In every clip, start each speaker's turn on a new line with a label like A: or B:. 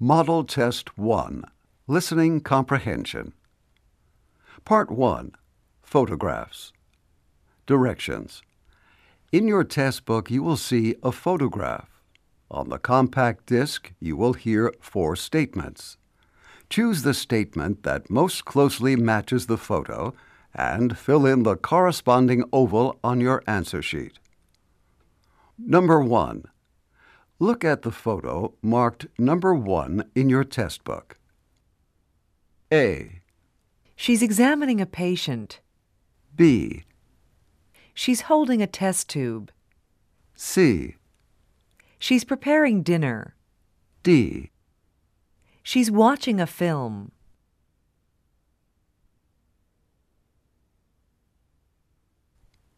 A: Model Test 1 Listening Comprehension. Part 1 Photographs. Directions In your test book, you will see a photograph. On the compact disc, you will hear four statements. Choose the statement that most closely matches the photo and fill in the corresponding oval on your answer sheet. Number 1. Look at the photo marked number 1 in your test book. A,
B: She's examining a patient.
A: B,
B: She's holding a test tube.
A: C,
B: She's preparing dinner.
A: D.
B: She's watching a film.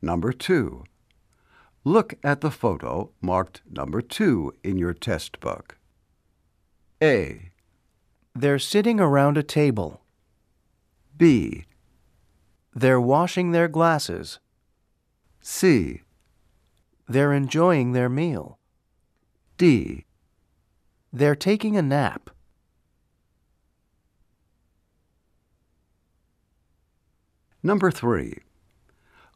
A: Number 2. Look at the photo marked number 2 in your test book. A,
C: They're sitting around a table.
A: B,
C: They're washing their glasses.
A: C,
C: They're enjoying their meal.
A: D.
C: They're taking a nap.
A: Number 3.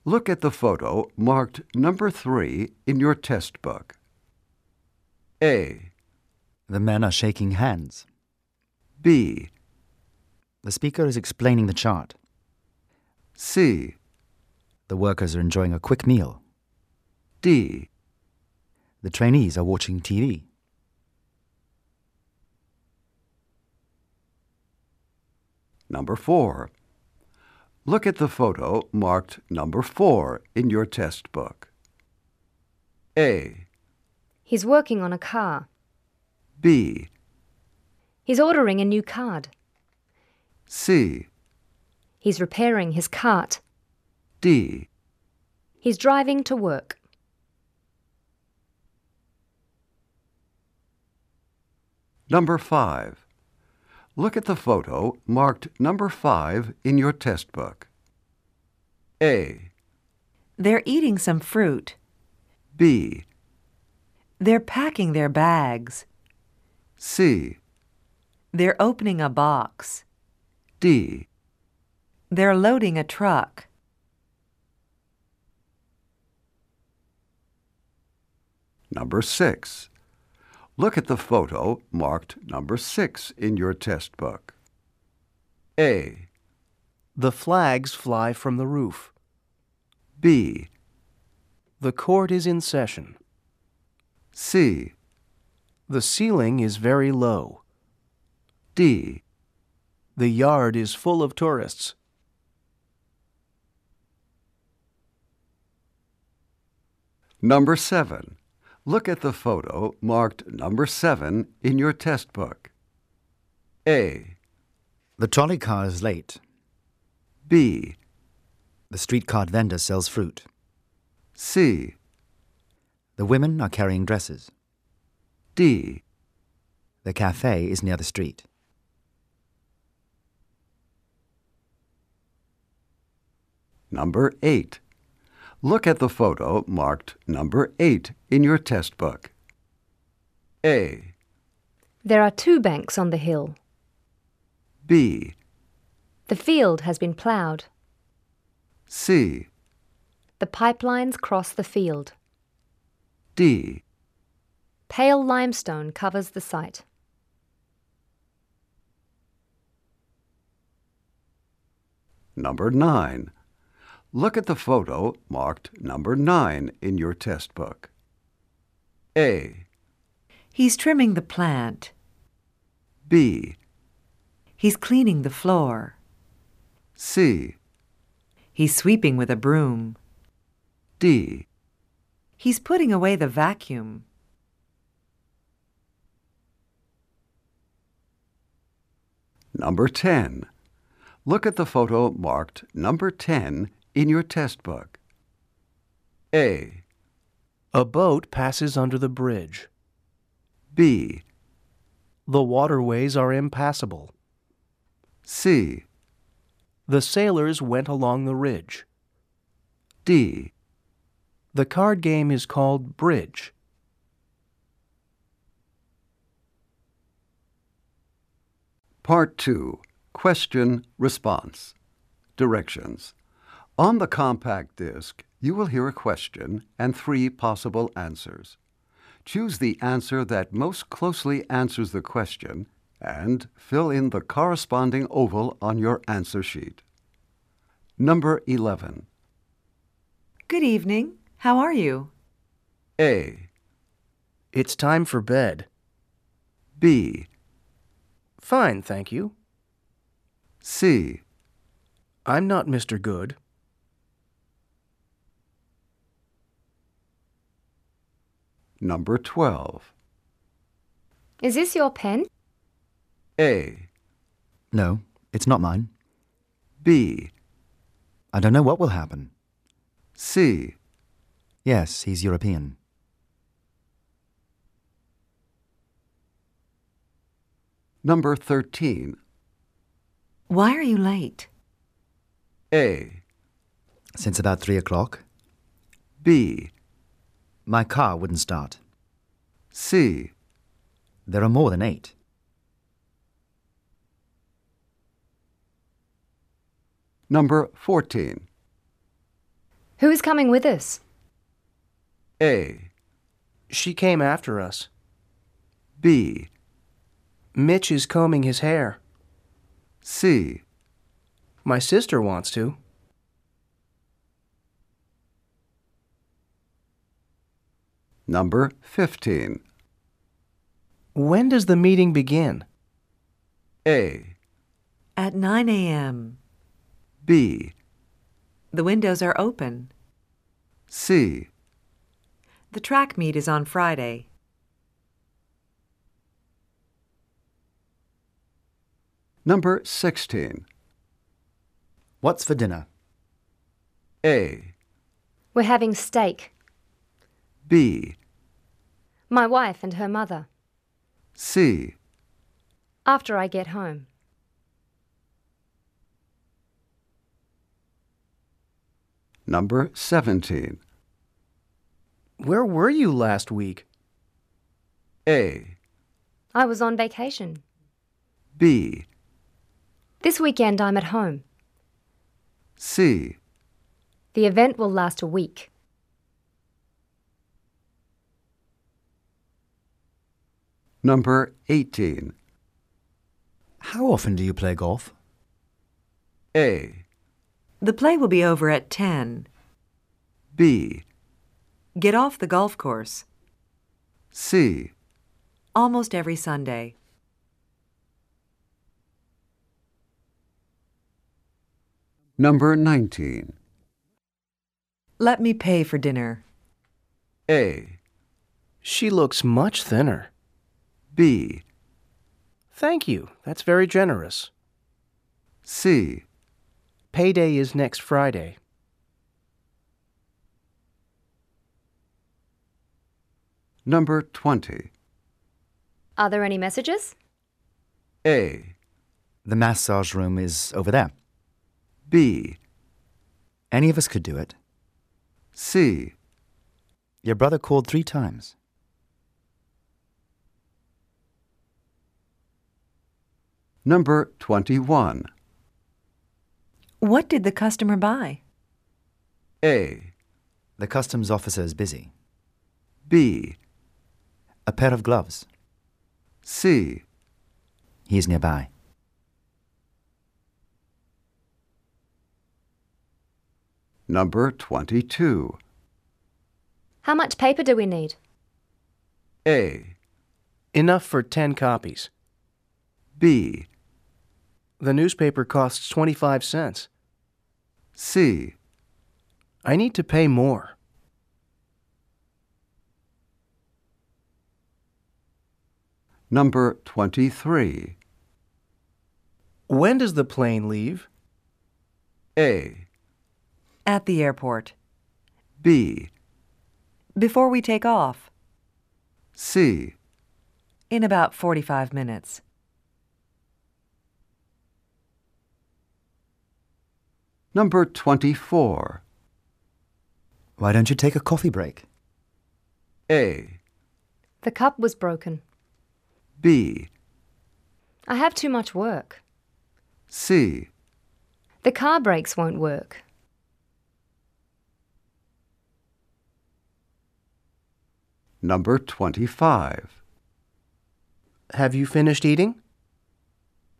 A: Look at the photo marked number 3 in your test book. A,
D: The men are shaking hands.
A: B,
D: The speaker is explaining the chart.
A: C,
D: The workers are enjoying a quick meal.
A: D.
D: The trainees are watching TV.
A: Number 4. Look at the photo marked number 4 in your test book. A,
E: He's working on a car.
A: B,
E: He's ordering a new card.
A: C,
E: He's repairing his cart.
A: D.
E: He's driving to work.
A: Number 5. Look at the photo marked number 5 in your test book. A,
B: They're eating some fruit.
A: B,
B: They're packing their bags.
A: C,
B: They're opening a box.
A: D.
B: They're loading a truck.
A: Number 6. Look at the photo marked number 6 in your test book. A,
C: The flags fly from the roof.
A: B,
C: The court is in session.
A: C,
C: The ceiling is very low.
A: D.
C: The yard is full of tourists.
A: Number 7. Look at the photo marked number 7 in your test book. A,
D: The trolley car is late.
A: B,
D: The street cart vendor sells fruit.
A: C,
D: The women are carrying dresses.
A: D.
D: The cafe is near the street.
A: Number 8. Look at the photo marked number 8 in your test book. A,
E: There are two banks on the hill.
A: B,
E: The field has been ploughed.
A: C,
E: The pipelines cross the field.
A: D.
E: Pale limestone covers the site.
A: Number 9. Look at the photo marked number 9 in your test book. A,
B: He's trimming the plant.
A: B,
B: He's cleaning the floor.
A: C,
B: He's sweeping with a broom.
A: D.
B: He's putting away the vacuum.
A: Number 10. Look at the photo marked number 10 in your test book. A,
C: A boat passes under the bridge.
A: B,
C: The waterways are impassable.
A: C,
C: The sailors went along the ridge.
A: D.
C: The card game is called Bridge.
A: Part 2 Question Response Directions On the compact disc, you will hear a question and three possible answers. Choose the answer that most closely answers the question and fill in the corresponding oval on your answer sheet. Number 11.
B: Good evening. How are you?
A: A.
C: It's time for bed.
A: B.
C: Fine, thank you.
A: C.
C: I'm not Mr. Good.
A: Number 12.
E: Is this your pen?
A: A.
D: No, it's not mine.
A: B.
D: I don't know what will happen.
A: C.
D: Yes, he's European.
A: Number 13.
B: Why are you late?
A: A.
D: Since about three o'clock,
A: B.
D: my car wouldn't start.
A: C.
D: There are more than eight.
A: Number 14.
E: Who is coming with us?
A: A.
C: She came after us.
A: B.
C: Mitch is combing his hair.
A: C.
C: My sister wants to.
A: Number 15.
C: When does the meeting begin?
A: A.
B: At 9 a.m.
A: B.
B: The windows are open.
A: C.
B: The track meet is on Friday.
A: Number 16.
D: What's for dinner?
A: A.
E: We're having steak.
A: B.
E: My wife and her mother.
A: C.
E: After I get home.
A: Number 17.
C: Where were you last week?
A: A.
E: I was on vacation.
A: B.
E: This weekend I'm at home.
A: C.
E: The event will last a week.
A: Number 18.
D: How often do you play golf?
A: A.
B: The play will be over at 10.
A: B.
B: Get off the golf course.
A: C.
B: Almost every Sunday.
A: Number 19.
B: Let me pay for dinner.
A: A.
C: She looks much thinner.
A: B.
C: Thank you. That's very generous.
A: C.
C: Payday is next Friday.
A: Number 20.
E: Are there any messages?
A: A.
D: The massage room is over there.
A: B.
D: Any of us could do it.
A: C.
D: Your brother called three times.
A: Number 21.
B: What did the customer buy?
A: A.
D: The customs officer is busy.
A: B.
D: A pair of gloves.
A: C.
D: He is nearby.
A: Number 22.
E: How much paper do we need?
A: A.
C: Enough for 10 copies.
A: B.
C: The newspaper costs 25 cents.
A: C.
C: I need to pay more.
A: Number 23.
C: When does the plane leave?
A: A.
B: At the airport.
A: B.
B: Before we take off.
A: C.
B: In about 45 minutes.
A: Number 24.
D: Why don't you take a coffee break?
A: A.
E: The cup was broken.
A: B.
E: I have too much work.
A: C.
E: The car brakes won't work.
A: Number 25.
C: Have you finished eating?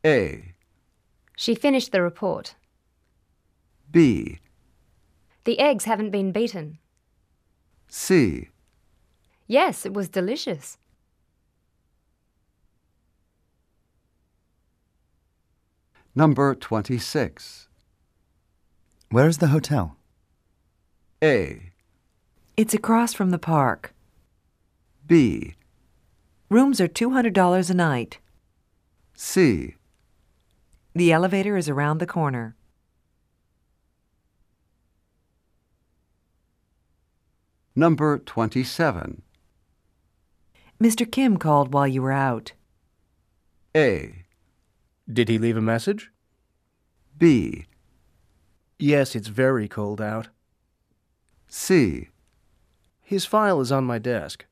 A: A.
E: She finished the report.
A: B.
E: The eggs haven't been beaten.
A: C.
E: Yes, it was delicious.
A: Number 26.
D: Where is the hotel?
A: A.
B: It's across from the park.
A: B.
B: Rooms are $200 a night.
A: C.
B: The elevator is around the corner.
A: Number 27.
B: Mr. Kim called while you were out.
A: A.
C: Did he leave a message?
A: B.
C: Yes, it's very cold out.
A: C.
C: His file is on my desk.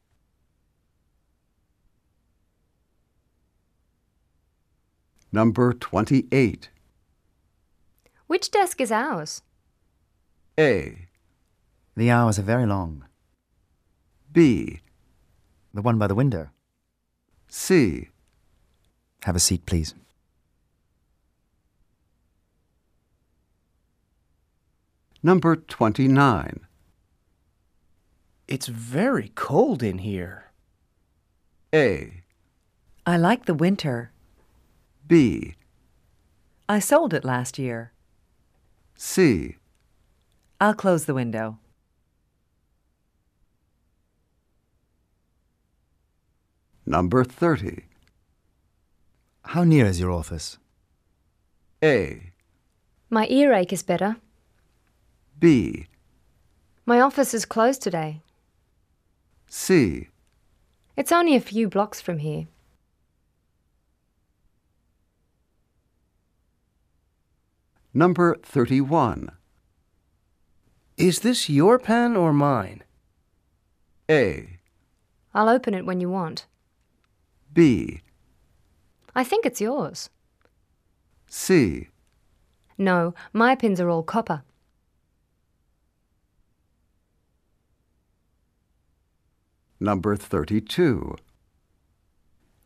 A: Number 28.
E: Which desk is ours?
A: A.
D: The hours are very long.
A: B.
D: The one by the window.
A: C.
D: Have a seat, please.
A: Number 29.
C: It's very cold in here.
A: A.
B: I like the winter.
A: B.
B: I sold it last year.
A: C.
B: I'll close the window.
A: Number 30.
D: How near is your office?
A: A.
E: My earache is better.
A: B.
E: My office is closed today.
A: C.
E: It's only a few blocks from here.
A: Number 31.
C: Is this your pen or mine?
A: A.
E: I'll open it when you want.
A: B.
E: I think it's yours.
A: C.
E: No, my pins are all copper.
A: Number 32.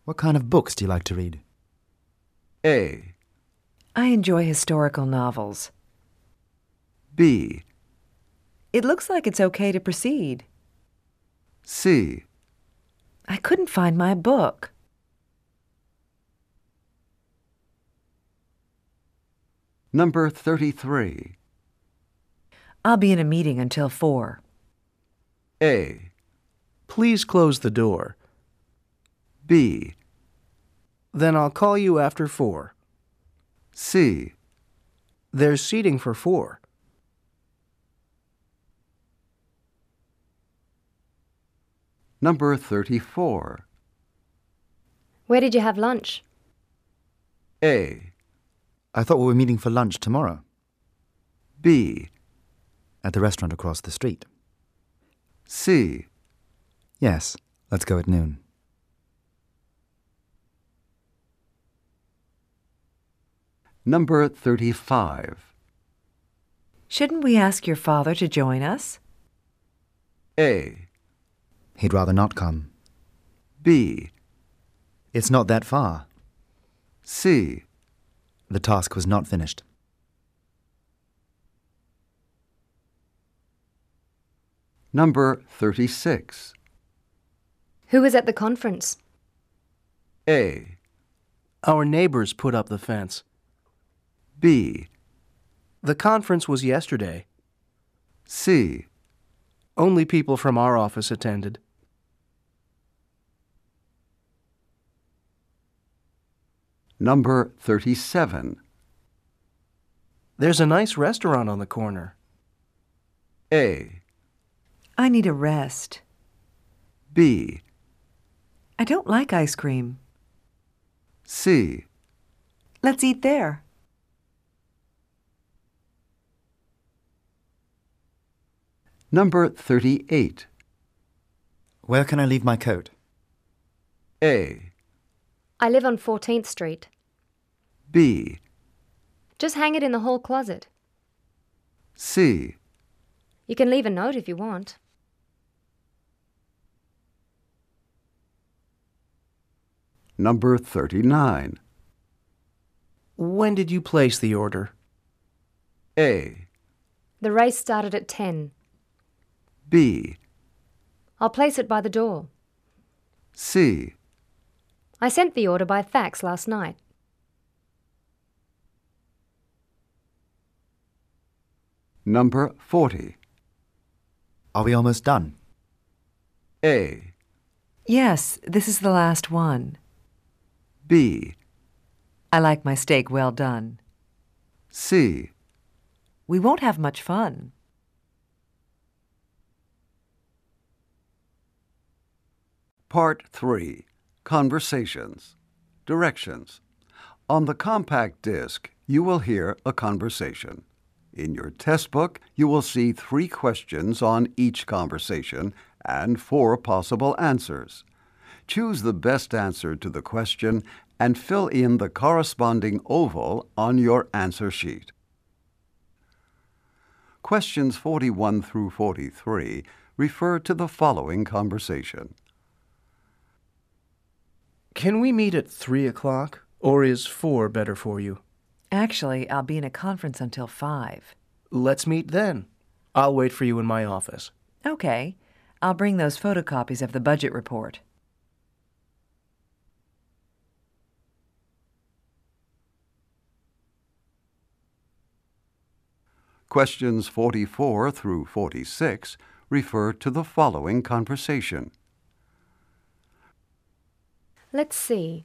D: What kind of books do you like to read?
A: A.
B: I enjoy historical novels.
A: B.
B: It looks like it's okay to proceed.
A: C.
B: I couldn't find my book.
A: Number 33.
B: I'll be in a meeting until four.
A: A.
C: Please close the door.
A: B.
C: Then I'll call you after four.
A: C.
C: There's seating for four.
A: Number 34.
E: Where did you have lunch?
A: A.
D: I thought we were meeting for lunch tomorrow
A: B.
D: at the restaurant across the street.
A: C.
D: Yes, let's go at noon.
A: Number 35.
B: Shouldn't we ask your father to join us?
A: A.
D: He'd rather not come.
A: B.
D: It's not that far.
A: C.
D: The task was not finished.
A: Number 36.
E: Who was at the conference?
A: A.
C: Our neighbors put up the fence.
A: B.
C: The conference was yesterday.
A: C.
C: Only people from our office attended.
A: Number 37.
C: There's a nice restaurant on the corner.
A: A.
B: I need a rest.
A: B.
B: I don't like ice cream.
A: C.
B: Let's eat there.
A: Number 38.
D: Where can I leave my coat?
A: A.
E: I live on 14th Street.
A: B,
E: Just hang it in the hall closet.
A: C,
E: You can leave a note if you want.
A: number 39.
C: When did you place the order?
A: A,
E: The race started at 10.
A: B,
E: I'll place it by the door.
A: C,
E: I sent the order by fax last night.
A: number 40.
D: Are we almost done?
A: A,
B: Yes, this is the last one.
A: B,
B: I like my steak well done.
A: C,
B: We won't have much fun.
A: Part 3 Conversations Directions On the compact disc, you will hear a conversation. In your test book, you will see three questions on each conversation and four possible answers. Choose the best answer to the question and fill in the corresponding oval on your answer sheet. Questions 41 through 43 refer to the following conversation.
C: Can we meet at 3 o'clock? Or is 4 better for you?
B: Actually, I'll be in a conference until 5.
C: Let's meet then. I'll wait for you in my office.
B: Okay. I'll bring those photocopies of the budget report.
A: Questions 44 through 46 refer to the following conversation.
E: Let's see.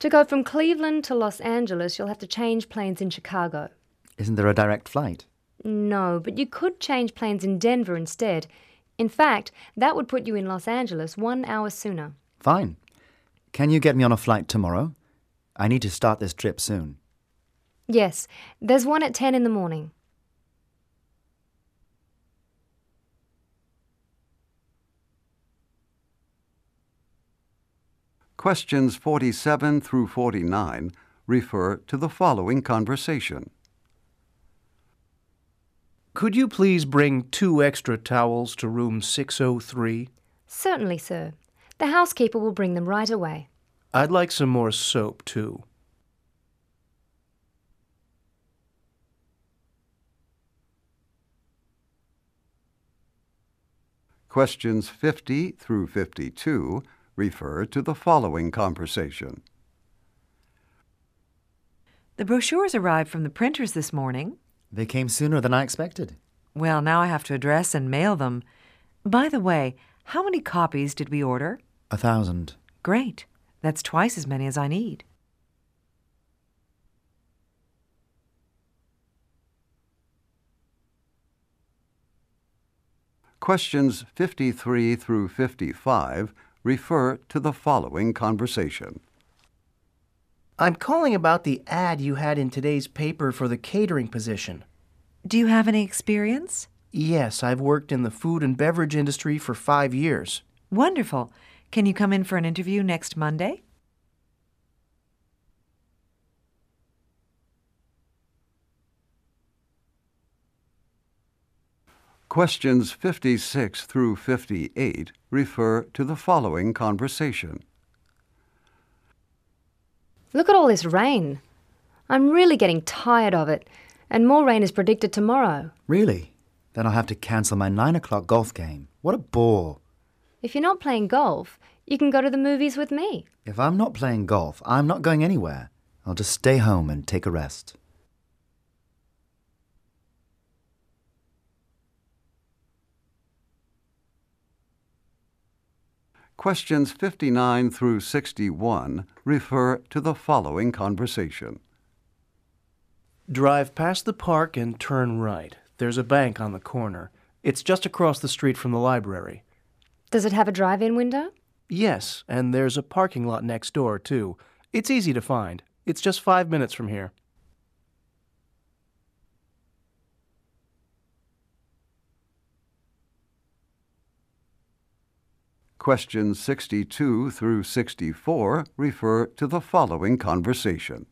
E: To go from Cleveland to Los Angeles, you'll have to change planes in Chicago.
D: Isn't there a direct flight?
E: No, but you could change planes in Denver instead. In fact, that would put you in Los Angeles one hour sooner.
D: Fine. Can you get me on a flight tomorrow? I need to start this trip soon.
E: Yes, there's one at 10 in the morning.
A: Questions 47 through 49 refer to the following conversation.
C: Could you please bring two extra towels to room 603?
E: Certainly, sir. The housekeeper will bring them right away.
C: I'd like some more soap, too.
A: Questions 50 through 52 refer to the following conversation.
B: The brochures arrived from the printers this morning.
D: They came sooner than I expected.
B: Well, now I have to address and mail them. By the way, how many copies did we order?
D: A thousand.
B: Great. That's twice as many as I need.
A: Questions 53 through 55 refer to the following conversation.
C: I'm calling about the ad you had in today's paper for the catering position.
B: Do you have any experience?
C: Yes, I've worked in the food and beverage industry for five years.
B: Wonderful. Can you come in for an interview next Monday?
A: Questions 56 through 58 refer to the following conversation.
E: Look at all this rain. I'm really getting tired of it, and more rain is predicted tomorrow.
D: Really? Then I'll have to cancel my nine o'clock golf game. What a bore.
E: If you're not playing golf, you can go to the movies with me.
D: If I'm not playing golf, I'm not going anywhere. I'll just stay home and take a rest.
A: Questions 59 through 61 refer to the following conversation.
C: Drive past the park and turn right. There's a bank on the corner. It's just across the street from the library.
E: Does it have a drive in window?
C: Yes, and there's a parking lot next door, too. It's easy to find. It's just five minutes from here.
A: Questions 62 through 64 refer to the following conversation.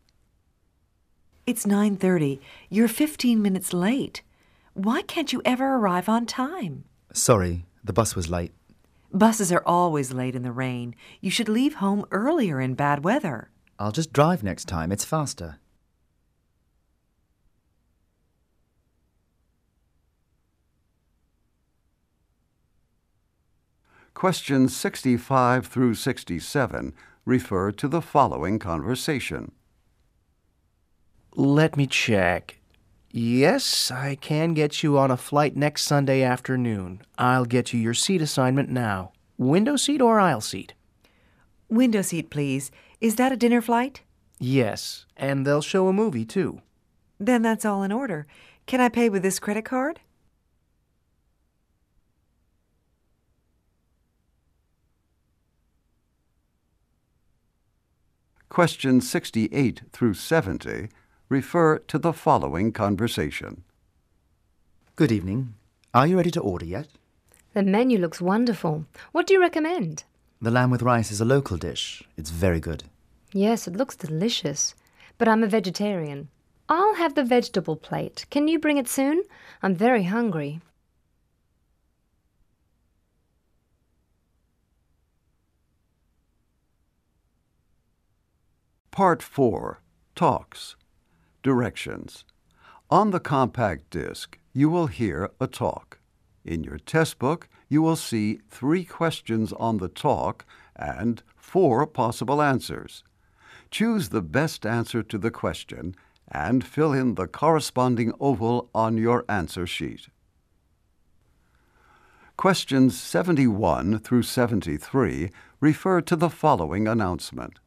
B: It's 9:30. You're 15 minutes late. Why can't you ever arrive on time?
D: Sorry, the bus was late.
B: Buses are always late in the rain. You should leave home earlier in bad weather.
D: I'll just drive next time, it's faster.
A: Questions 65 through 67 refer to the following conversation.
C: Let me check. Yes, I can get you on a flight next Sunday afternoon. I'll get you your seat assignment now. Window seat or aisle seat?
B: Window seat, please. Is that a dinner flight?
C: Yes, and they'll show a movie too.
B: Then that's all in order. Can I pay with this credit card?
A: Questions 68 through 70 refer to the following conversation.
D: Good evening. Are you ready to order yet?
E: The menu looks wonderful. What do you recommend?
D: The lamb with rice is a local dish. It's very good.
E: Yes, it looks delicious. But I'm a vegetarian. I'll have the vegetable plate. Can you bring it soon? I'm very hungry.
A: Part 4 Talks Directions On the compact disc, you will hear a talk. In your test book, you will see three questions on the talk and four possible answers. Choose the best answer to the question and fill in the corresponding oval on your answer sheet. Questions 71 through 73 refer to the following announcement.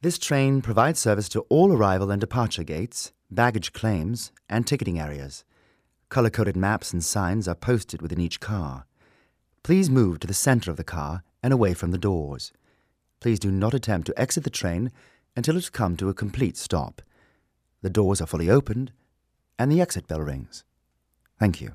D: This train provides service to all arrival and departure gates, baggage claims, and ticketing areas. Color coded maps and signs are posted within each car. Please move to the center of the car and away from the doors. Please do not attempt to exit the train until it has come to a complete stop. The doors are fully opened and the exit bell rings. Thank you.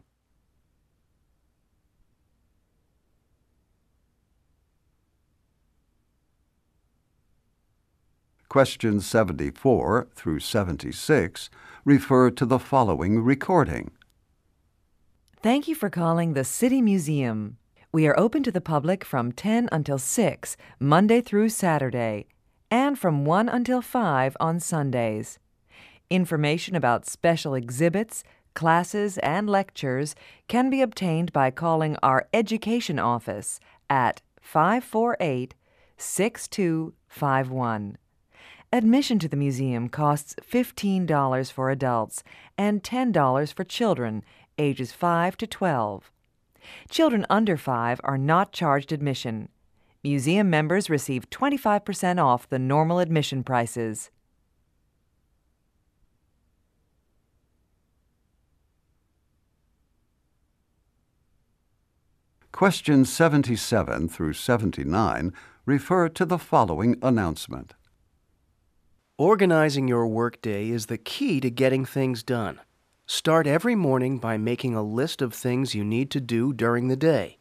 A: Questions 74 through 76 refer to the following recording.
B: Thank you for calling the City Museum. We are open to the public from 10 until 6, Monday through Saturday, and from 1 until 5 on Sundays. Information about special exhibits, classes, and lectures can be obtained by calling our Education Office at 548 6251. Admission to the museum costs $15 for adults and $10 for children ages 5 to 12. Children under 5 are not charged admission. Museum members receive 25% off the normal admission prices.
A: Questions 77 through 79 refer to the following announcement.
C: Organizing your workday is the key to getting things done. Start every morning by making a list of things you need to do during the day.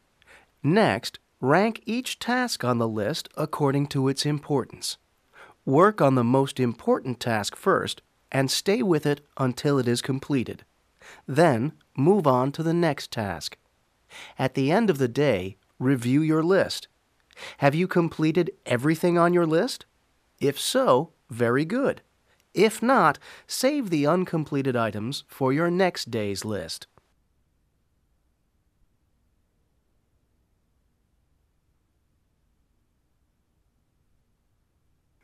C: Next, rank each task on the list according to its importance. Work on the most important task first and stay with it until it is completed. Then, move on to the next task. At the end of the day, review your list. Have you completed everything on your list? If so, very good. If not, save the uncompleted items for your next day's list.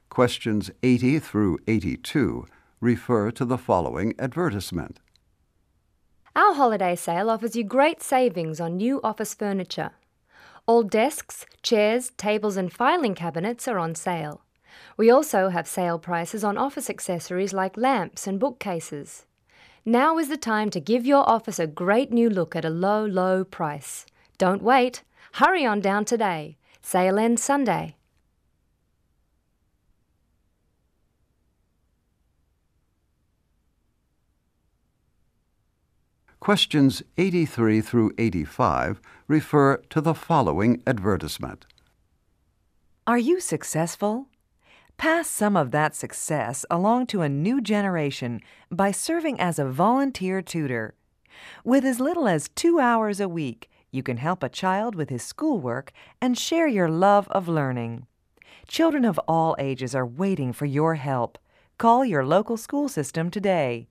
A: Questions 80 through 82 refer to the following advertisement.
E: Our holiday sale offers you great savings on new office furniture. All desks, chairs, tables, and filing cabinets are on sale. We also have sale prices on office accessories like lamps and bookcases. Now is the time to give your office a great new look at a low, low price. Don't wait. Hurry on down today. Sale ends Sunday.
A: Questions 83 through 85 refer to the following advertisement.
B: Are you successful? Pass some of that success along to a new generation by serving as a volunteer tutor. With as little as two hours a week, you can help a child with his schoolwork and share your love of learning. Children of all ages are waiting for your help. Call your local school system today.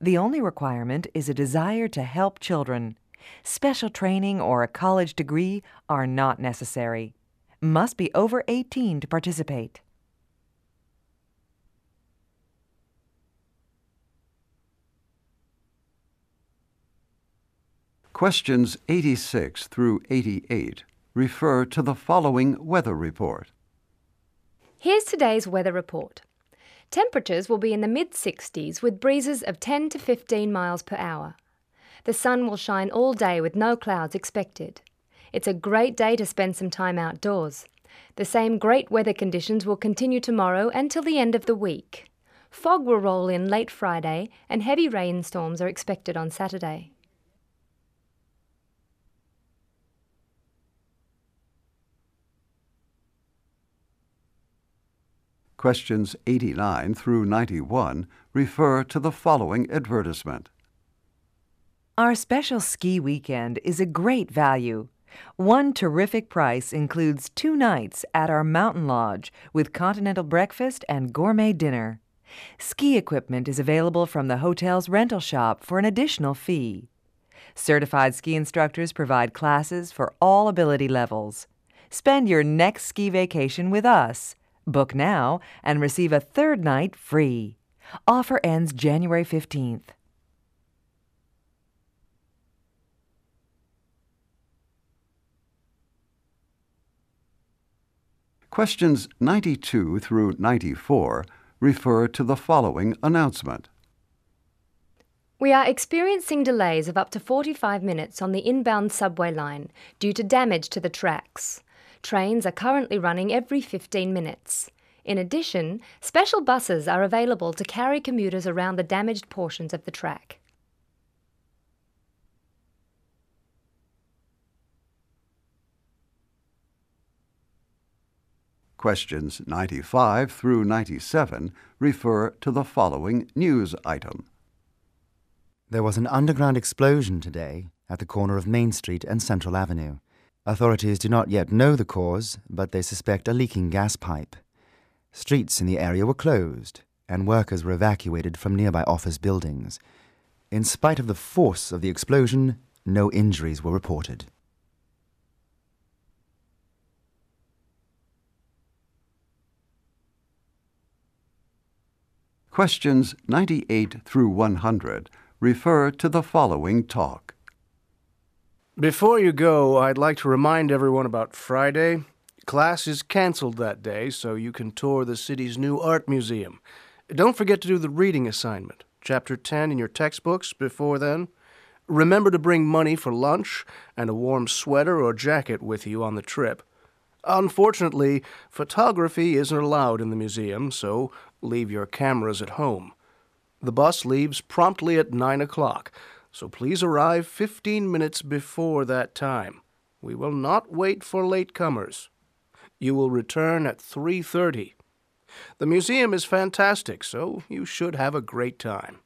B: The only requirement is a desire to help children. Special training or a college degree are not necessary. Must be over 18 to participate.
A: Questions 86 through 88 refer to the following weather report.
E: Here's today's weather report. Temperatures will be in the mid 60s with breezes of 10 to 15 miles per hour. The sun will shine all day with no clouds expected. It's a great day to spend some time outdoors. The same great weather conditions will continue tomorrow and till the end of the week. Fog will roll in late Friday and heavy rainstorms are expected on Saturday.
A: Questions 89 through 91 refer to the following advertisement.
B: Our special ski weekend is a great value. One terrific price includes two nights at our mountain lodge with continental breakfast and gourmet dinner. Ski equipment is available from the hotel's rental shop for an additional fee. Certified ski instructors provide classes for all ability levels. Spend your next ski vacation with us. Book now and receive a third night free. Offer ends January 15th.
A: Questions 92 through 94 refer to the following announcement.
E: We are experiencing delays of up to 45 minutes on the inbound subway line due to damage to the tracks. Trains are currently running every 15 minutes. In addition, special buses are available to carry commuters around the damaged portions of the track.
A: Questions 95 through 97 refer to the following news item.
D: There was an underground explosion today at the corner of Main Street and Central Avenue. Authorities do not yet know the cause, but they suspect a leaking gas pipe. Streets in the area were closed, and workers were evacuated from nearby office buildings. In spite of the force of the explosion, no injuries were reported.
A: Questions 98 through 100 refer to the following talk.
C: Before you go, I'd like to remind everyone about Friday. Class is cancelled that day, so you can tour the city's new art museum. Don't forget to do the reading assignment, chapter 10 in your textbooks before then. Remember to bring money for lunch and a warm sweater or jacket with you on the trip. Unfortunately, photography isn't allowed in the museum, so leave your cameras at home. The bus leaves promptly at 9 o'clock so please arrive 15 minutes before that time. We will not wait for latecomers. You will return at 3:30. The museum is fantastic, so you should have a great time.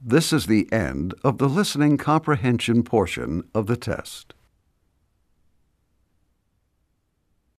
A: This is the end of the listening comprehension portion of the test.